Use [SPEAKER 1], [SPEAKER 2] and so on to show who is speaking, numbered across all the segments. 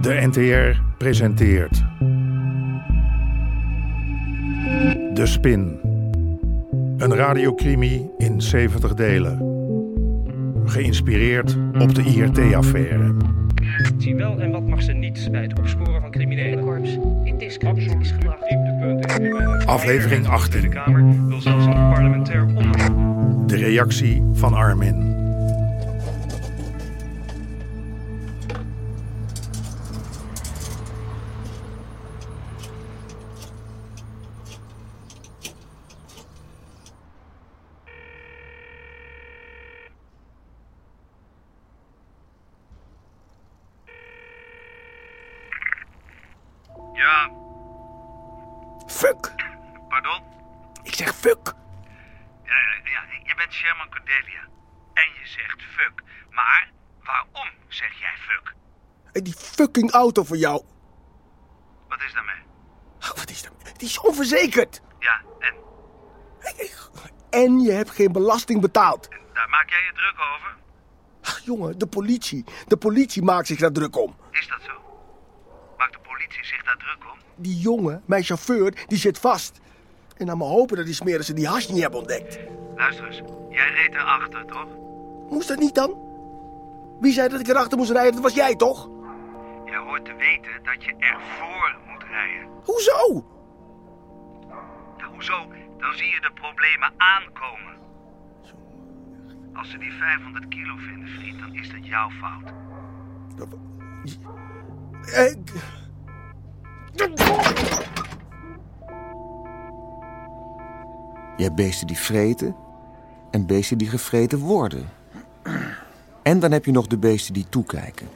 [SPEAKER 1] De NTR presenteert. De Spin. Een radiocrimi in 70 delen. Geïnspireerd op de IRT-affaire.
[SPEAKER 2] Wat Zie wel en wat mag ze niet bij het opsporen van criminelen.
[SPEAKER 3] Corps in discrediet is gebracht.
[SPEAKER 1] Aflevering 18.
[SPEAKER 2] De Kamer wil zelfs een parlementair onderzoek.
[SPEAKER 1] De reactie van Armin.
[SPEAKER 4] Ja,
[SPEAKER 5] Fuck.
[SPEAKER 4] pardon?
[SPEAKER 5] Ik zeg fuck.
[SPEAKER 4] Ja, ja, ja, je bent Sherman Cordelia. En je zegt fuck. Maar waarom zeg jij fuck?
[SPEAKER 5] En die fucking auto van jou.
[SPEAKER 4] Wat is daarmee?
[SPEAKER 5] Oh, wat is dat? Die is onverzekerd.
[SPEAKER 4] Ja, en
[SPEAKER 5] En je hebt geen belasting betaald.
[SPEAKER 4] daar maak jij je druk over?
[SPEAKER 5] Ach, jongen, de politie. De politie maakt zich daar druk om.
[SPEAKER 4] Is dat zo? Maakt de politie zich daar druk om?
[SPEAKER 5] Die jongen, mijn chauffeur, die zit vast. En dan maar hopen dat die smeren ze die hash niet hebben ontdekt.
[SPEAKER 4] Luister eens, jij reed erachter, toch?
[SPEAKER 5] Moest dat niet dan? Wie zei dat ik erachter moest rijden? Dat was jij toch?
[SPEAKER 4] Jij hoort te weten dat je ervoor moet rijden.
[SPEAKER 5] Hoezo?
[SPEAKER 4] Nou, hoezo? Dan zie je de problemen aankomen. Als ze die 500 kilo vinden, vriend, dan is dat jouw fout.
[SPEAKER 5] Eh,
[SPEAKER 6] Je hebt beesten die vreten en beesten die gevreten worden. En dan heb je nog de beesten die toekijken.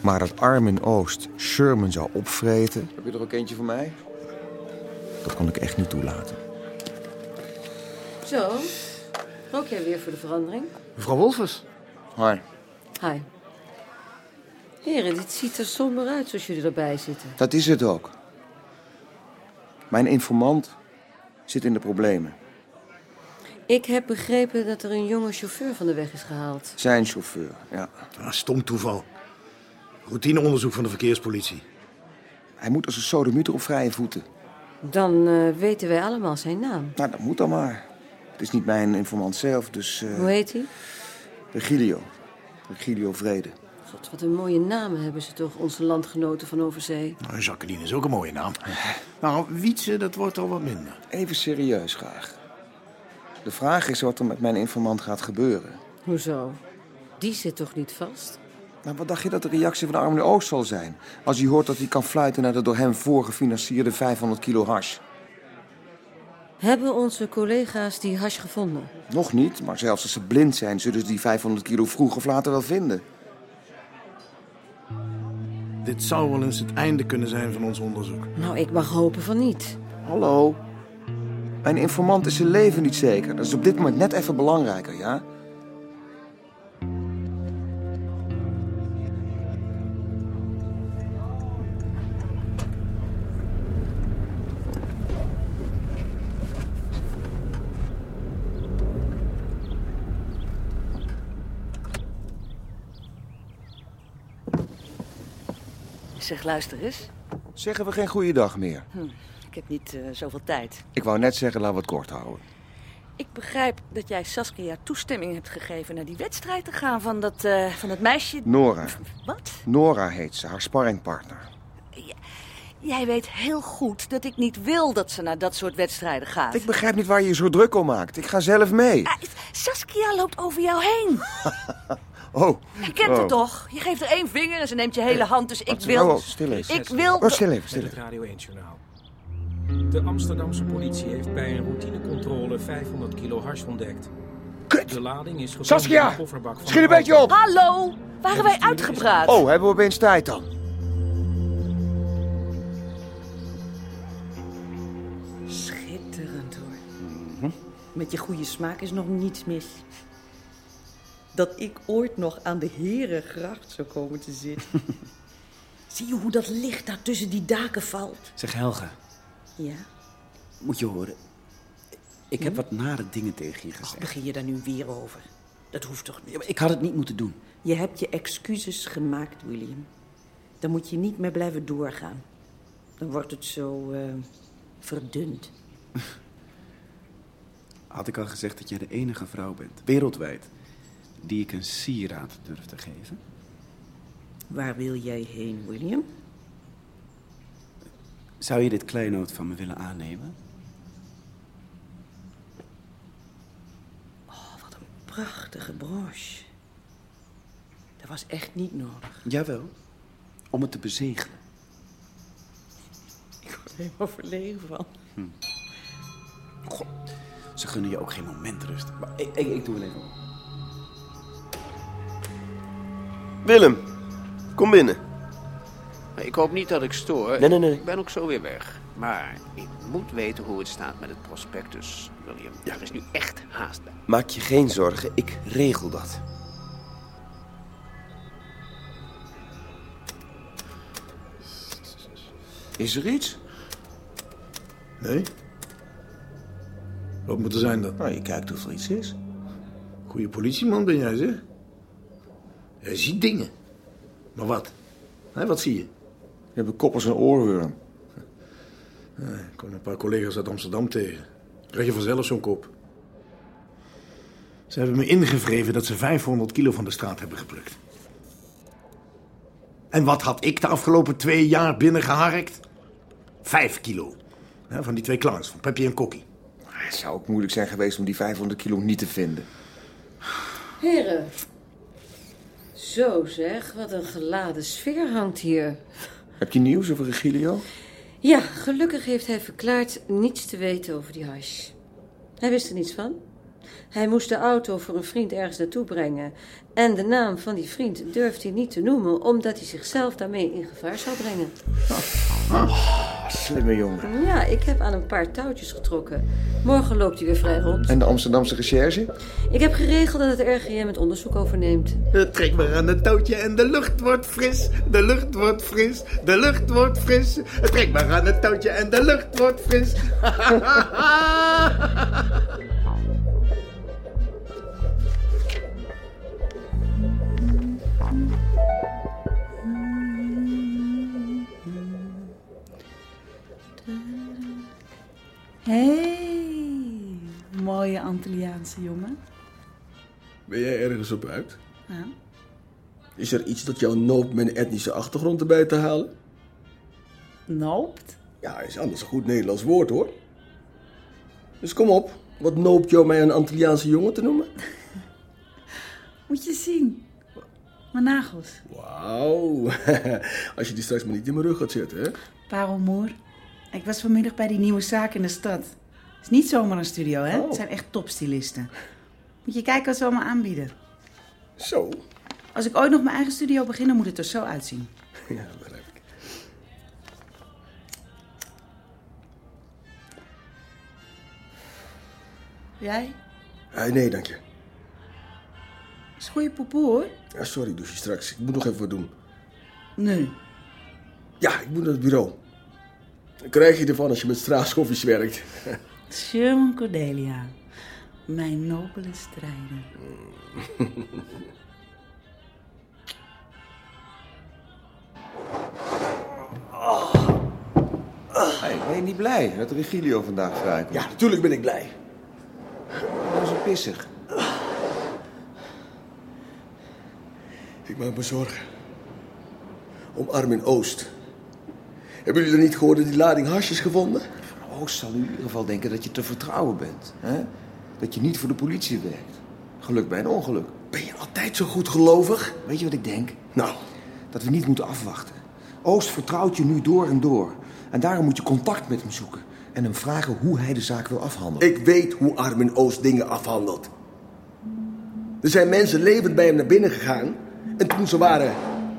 [SPEAKER 6] Maar dat Armin Oost Sherman zou opvreten... Heb je er ook eentje voor mij? Dat kon ik echt niet toelaten.
[SPEAKER 7] Zo, ook jij weer voor de verandering.
[SPEAKER 8] Mevrouw Wolfers.
[SPEAKER 6] Hoi.
[SPEAKER 7] Hi. Heren, dit ziet er somber uit zoals jullie erbij zitten.
[SPEAKER 6] Dat is het ook. Mijn informant zit in de problemen.
[SPEAKER 7] Ik heb begrepen dat er een jonge chauffeur van de weg is gehaald.
[SPEAKER 6] Zijn chauffeur, ja.
[SPEAKER 8] Ah, stom toeval. Routineonderzoek van de verkeerspolitie.
[SPEAKER 6] Hij moet als een sodomieter op vrije voeten.
[SPEAKER 7] Dan eh, weten wij allemaal zijn naam.
[SPEAKER 6] Nou, dat moet dan maar. Het is niet mijn informant zelf, dus... eh,
[SPEAKER 7] Hoe heet hij?
[SPEAKER 6] Regilio. Regilio Vrede.
[SPEAKER 7] God, wat een mooie namen hebben ze toch, onze landgenoten van overzee.
[SPEAKER 8] Nou, Jacqueline is ook een mooie naam. Nou, Wietse, dat wordt al wat minder.
[SPEAKER 6] Even serieus graag. De vraag is wat er met mijn informant gaat gebeuren.
[SPEAKER 7] Hoezo? Die zit toch niet vast?
[SPEAKER 6] Maar wat dacht je dat de reactie van Armin Oost zal zijn... als hij hoort dat hij kan fluiten naar de door hem voorgefinancierde 500 kilo hash?
[SPEAKER 7] Hebben onze collega's die hash gevonden?
[SPEAKER 6] Nog niet, maar zelfs als ze blind zijn... zullen ze die 500 kilo vroeg of later wel vinden.
[SPEAKER 8] Dit zou wel eens het einde kunnen zijn van ons onderzoek.
[SPEAKER 7] Nou, ik mag hopen van niet.
[SPEAKER 6] Hallo? Mijn informant is zijn leven niet zeker. Dat is op dit moment net even belangrijker, ja?
[SPEAKER 3] Zeg, luister eens.
[SPEAKER 6] Zeggen we geen goede dag meer.
[SPEAKER 3] Ik heb niet eh, zoveel tijd.
[SPEAKER 6] Ik wou net zeggen, laten we het kort houden.
[SPEAKER 3] Ik begrijp dat jij Saskia toestemming hebt gegeven naar die wedstrijd te gaan van dat, eh, van dat meisje.
[SPEAKER 6] Nora.
[SPEAKER 3] Wat?
[SPEAKER 6] Nora heet ze, haar sparringpartner.
[SPEAKER 3] Jij weet heel goed dat ik niet wil dat ze naar dat soort wedstrijden gaat.
[SPEAKER 6] Ik begrijp niet waar je je zo druk om maakt. Ik ga zelf mee.
[SPEAKER 3] Ah, Saskia loopt over jou heen.
[SPEAKER 6] Oh.
[SPEAKER 3] Je kent
[SPEAKER 6] Oh.
[SPEAKER 3] het toch? Je geeft er één vinger en ze neemt je hele hand. Dus ik
[SPEAKER 6] Wat-
[SPEAKER 3] wil...
[SPEAKER 6] oh, oh, stil even.
[SPEAKER 3] Ik wil...
[SPEAKER 6] Oh, stil even, stil
[SPEAKER 9] Met
[SPEAKER 6] even.
[SPEAKER 9] het Radio 1 Journaal. De Amsterdamse politie heeft bij een routinecontrole 500 kilo hash ontdekt. De lading is gevonden in de kofferbak van
[SPEAKER 6] Schiet een
[SPEAKER 9] de
[SPEAKER 6] beetje
[SPEAKER 9] auto.
[SPEAKER 6] op.
[SPEAKER 3] Hallo? Waren wij uitgepraat?
[SPEAKER 6] Oh, hebben we opeens tijd dan?
[SPEAKER 10] Schitterend hoor. Mhm. Met je goede smaak is nog niets mis. Dat ik ooit nog aan de Herengracht zou komen te zitten. Zie je hoe dat licht daar tussen die daken valt?
[SPEAKER 11] Zeg Helga,
[SPEAKER 10] Ja,
[SPEAKER 11] moet je horen. Ik heb wat nare dingen tegen je gezegd.
[SPEAKER 10] begin je daar nu weer over? Dat hoeft toch niet?
[SPEAKER 11] Ja, maar ik had het niet moeten doen.
[SPEAKER 10] Je hebt je excuses gemaakt, William. Dan moet je niet meer blijven doorgaan. Dan wordt het zo eh, verdund.
[SPEAKER 8] Had ik al gezegd dat jij de enige vrouw bent, wereldwijd, die ik een sieraad durf te geven?
[SPEAKER 10] Waar wil jij heen, William?
[SPEAKER 8] Zou je dit kleinood van me willen aannemen?
[SPEAKER 10] Oh, Prachtige broche. Dat was echt niet nodig.
[SPEAKER 8] Jawel, om het te bezegelen.
[SPEAKER 10] Ik word helemaal verlegen van.
[SPEAKER 8] God, ze gunnen je ook geen moment rust. Maar ik, ik, ik doe wel even op.
[SPEAKER 12] Willem, kom binnen.
[SPEAKER 13] Ik hoop niet dat ik stoor.
[SPEAKER 12] Nee, nee, nee.
[SPEAKER 13] Ik ben ook zo weer weg. Maar ik moet weten hoe het staat met het prospectus, William. Er is nu echt haast bij.
[SPEAKER 6] Maak je geen zorgen, ik regel dat.
[SPEAKER 13] Is er iets?
[SPEAKER 14] Nee? Wat moet er zijn dan? Nou, je kijkt of er iets is. Goeie politieman ben jij, zeg. Jij ziet dingen. Maar wat? Hé, wat zie je?
[SPEAKER 6] We hebben koppers en oorwurm.
[SPEAKER 14] Eh, ik kwam een paar collega's uit Amsterdam tegen. Krijg je vanzelf zo'n kop. Ze hebben me ingevreven dat ze 500 kilo van de straat hebben geplukt. En wat had ik de afgelopen twee jaar binnengeharkt? Vijf kilo. Hè, van die twee clowns, van Pepje en Kokkie.
[SPEAKER 6] Ah, Het zou ook moeilijk zijn geweest om die 500 kilo niet te vinden.
[SPEAKER 7] Heren. Zo zeg, wat een geladen sfeer hangt hier.
[SPEAKER 6] Heb je nieuws over Regilio?
[SPEAKER 7] Ja, gelukkig heeft hij verklaard niets te weten over die hash. Hij wist er niets van. Hij moest de auto voor een vriend ergens naartoe brengen. En de naam van die vriend durft hij niet te noemen, omdat hij zichzelf daarmee in gevaar zou brengen.
[SPEAKER 6] Ah, slimme jongen.
[SPEAKER 7] Ja, ik heb aan een paar touwtjes getrokken. Morgen loopt hij weer vrij rond.
[SPEAKER 6] En de Amsterdamse recherche?
[SPEAKER 7] Ik heb geregeld dat het RGM het onderzoek overneemt.
[SPEAKER 14] Trek maar aan het touwtje en de lucht wordt fris. De lucht wordt fris. De lucht wordt fris. Trek maar aan het touwtje en de lucht wordt fris.
[SPEAKER 3] hey, mooie Antilliaanse jongen.
[SPEAKER 14] Ben jij ergens op uit?
[SPEAKER 3] Ja.
[SPEAKER 5] Is er iets dat jou noopt mijn etnische achtergrond erbij te halen?
[SPEAKER 3] Noopt?
[SPEAKER 5] Ja, is anders een goed Nederlands woord hoor. Dus kom op, wat noopt jou mij een Antilliaanse jongen te noemen?
[SPEAKER 3] Moet je zien. Mijn nagels.
[SPEAKER 5] Wauw, als je die straks maar niet in mijn rug gaat zetten hè.
[SPEAKER 3] Parel Moer. Ik was vanmiddag bij die nieuwe zaak in de stad. Het is niet zomaar een studio, hè? Het zijn echt topstylisten. Moet je kijken wat ze allemaal aanbieden.
[SPEAKER 5] Zo.
[SPEAKER 3] Als ik ooit nog mijn eigen studio begin, dan moet het er zo uitzien.
[SPEAKER 5] Ja, begrijp ik.
[SPEAKER 3] Jij?
[SPEAKER 5] Eh, nee, dank je.
[SPEAKER 3] is goede poepoe, hoor.
[SPEAKER 5] Ja, sorry, douche je straks. Ik moet nog even wat doen.
[SPEAKER 3] Nee.
[SPEAKER 5] Ja, ik moet naar het bureau. Dan krijg je ervan als je met straatschoffies werkt.
[SPEAKER 3] Sherman Cordelia. Mijn nobele strijder.
[SPEAKER 6] Hey, ben je niet blij dat Regilio vandaag vrijkomt? Ja,
[SPEAKER 5] natuurlijk ben ik blij.
[SPEAKER 6] Dat is een pissig.
[SPEAKER 5] Ik maak me zorgen. Om Armin Oost. Hebben jullie er niet gehoord dat die lading hash is gevonden?
[SPEAKER 6] Oost zal in ieder geval denken dat je te vertrouwen bent. Hè? Dat je niet voor de politie werkt. Geluk bij een ongeluk.
[SPEAKER 5] Ben je altijd zo goed gelovig?
[SPEAKER 6] Weet je wat ik denk?
[SPEAKER 5] Nou.
[SPEAKER 6] Dat we niet moeten afwachten. Oost vertrouwt je nu door en door. En daarom moet je contact met hem zoeken. En hem vragen hoe hij de zaak wil afhandelen.
[SPEAKER 5] Ik weet hoe Armin Oost dingen afhandelt. Er zijn mensen levend bij hem naar binnen gegaan. En toen ze waren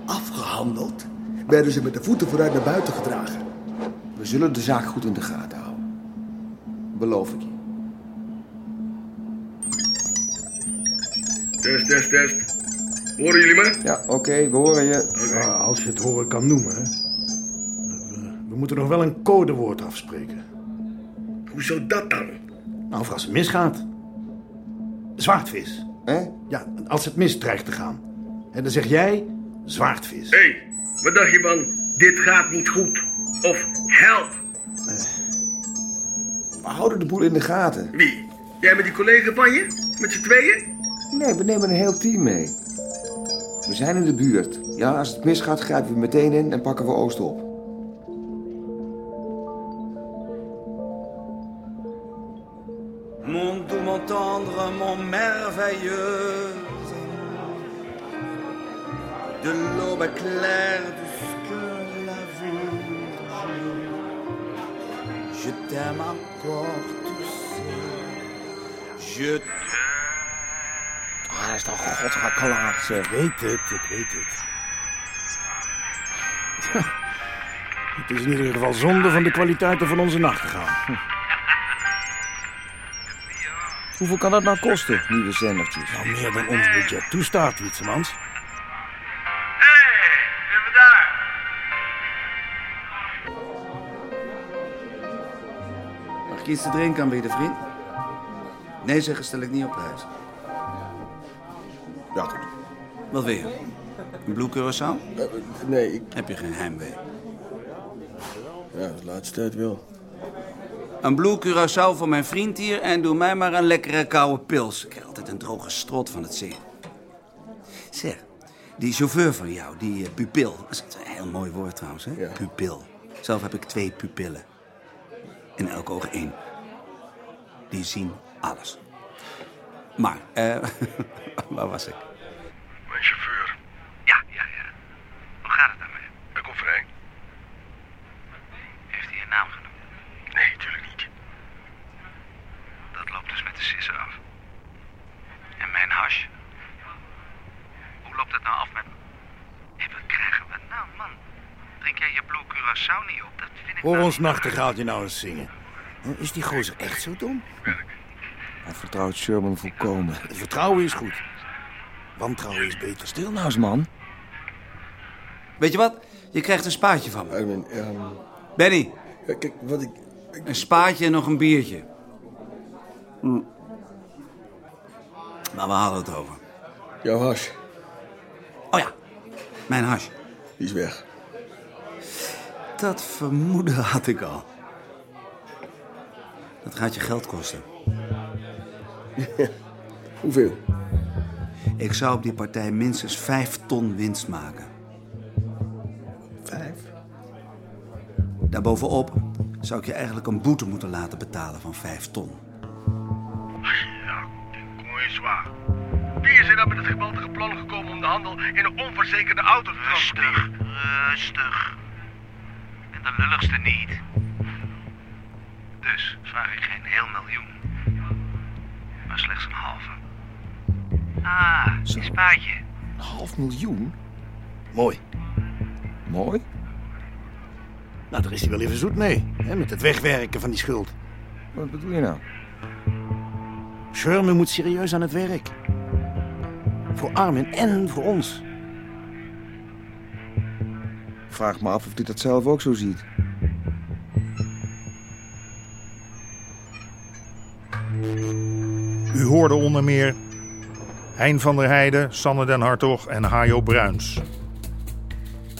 [SPEAKER 5] afgehandeld, werden ze met de voeten vooruit naar buiten gedragen.
[SPEAKER 6] We zullen de zaak goed in de gaten houden. Beloof ik je.
[SPEAKER 4] Test, test, test. Horen jullie me?
[SPEAKER 6] Ja, oké, we horen je.
[SPEAKER 15] Ja, als je het horen kan noemen. hè. We, we moeten nog wel een codewoord afspreken.
[SPEAKER 4] Hoezo dat dan?
[SPEAKER 15] Nou, of als het misgaat. Zwaardvis.
[SPEAKER 9] Hè? Ja, als het mis dreigt te gaan. En dan zeg jij zwaardvis.
[SPEAKER 4] Hé, hey, wat dacht je van? Dit gaat niet goed. Of help.
[SPEAKER 16] We houden de boel in de gaten.
[SPEAKER 4] Wie? Jij met die collega van je? Met z'n tweeën?
[SPEAKER 16] Nee, we nemen een heel team mee. We zijn in de buurt. Ja, als het misgaat, grijpen we meteen in en pakken we Oost op.
[SPEAKER 6] Mon doux, mon tendre, mon merveilleux. De l'aube claire jusqu'à la voûte. Je t'aime encore, tu sais. Je
[SPEAKER 5] Ah, dat is toch godga klaar, zeg.
[SPEAKER 9] Ik weet het, ik weet het. Het is in ieder geval zonde van de kwaliteiten van onze nachtegaal.
[SPEAKER 5] Hoeveel kan dat nou kosten, nieuwe zendertjes?
[SPEAKER 9] Nou, meer dan ons budget toestaat, Wietsemans.
[SPEAKER 6] Mag ik iets te drinken aanbieden, vriend? Nee zeggen stel ik niet op prijs.
[SPEAKER 5] Ja, goed.
[SPEAKER 6] Wat wil je? Een Blue Curaçao? eh,
[SPEAKER 5] nee, ik...
[SPEAKER 6] Heb je geen heimwee?
[SPEAKER 5] Ja, de laatste tijd wel.
[SPEAKER 6] Een Blue Curaçao voor mijn vriend hier en doe mij maar een lekkere koude pils. Ik krijg altijd een droge strot van het zin. Zeg, die chauffeur van jou, die eh, pupil. Dat is een heel mooi woord trouwens, hè? Pupil. Zelf heb ik twee pupillen. In elk oog één. Die zien alles. Maar, eh, waar was ik?
[SPEAKER 4] Mijn chauffeur. Ja, ja, ja. Hoe gaat het daarmee? Ik kom vrij. Heeft hij een naam genoemd? Nee, tuurlijk niet. Dat loopt dus met de sisser af. En mijn hash? Hoe loopt dat nou af met... Hé, wat krijgen we nou, man? Drink jij je Blue Curaçao niet op? Dat vind ik...
[SPEAKER 9] Hoor ons nachtegaaltje nou eens zingen. Is die gozer echt zo dom?
[SPEAKER 16] Hij vertrouwt Sherman volkomen.
[SPEAKER 9] Vertrouwen is goed. Wantrouwen is beter. Stil
[SPEAKER 16] nou eens, man.
[SPEAKER 6] Weet je wat? Je krijgt een spaatje van me. Benny. Kijk, wat ik... Een spaatje en nog een biertje. Maar we hadden het over.
[SPEAKER 5] Jouw hash.
[SPEAKER 6] Oh ja, mijn hash.
[SPEAKER 5] Die is weg.
[SPEAKER 6] Dat vermoeden had ik al. Dat gaat je geld kosten.
[SPEAKER 5] Hoeveel?
[SPEAKER 6] Ik zou op die partij minstens vijf ton winst maken.
[SPEAKER 5] Vijf?
[SPEAKER 6] Daarbovenop zou ik je eigenlijk een boete moeten laten betalen van vijf ton.
[SPEAKER 4] Kom eens zwaar. Wie is er dan met het geweldige plan gekomen om de handel in een onverzekerde auto te Rustig, rustig. En de lulligste niet. Dus vraag ik geen heel miljoen. Maar slechts een halve. Ah, een spaatje.
[SPEAKER 16] Een half miljoen?
[SPEAKER 9] Mooi.
[SPEAKER 16] Mooi?
[SPEAKER 9] Nou, daar is hij wel even zoet mee. Hè, met het wegwerken van die schuld.
[SPEAKER 16] Wat bedoel je nou?
[SPEAKER 9] Sherman moet serieus aan het werk. Voor Armin en voor ons.
[SPEAKER 16] Vraag me af of hij dat zelf ook zo ziet.
[SPEAKER 1] U hoorde onder meer Hein van der Heijden, Sanne den Hartog en Hajo Bruins.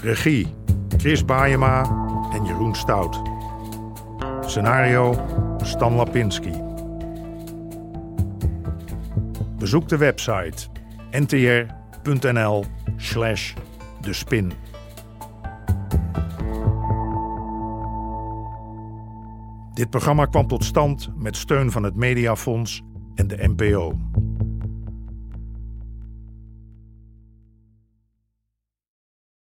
[SPEAKER 1] Regie Chris Baayema en Jeroen Stout. Scenario Stan Lapinski. Bezoek de website ntr.nl slash de spin. Dit programma kwam tot stand met steun van het Mediafonds en de NPO.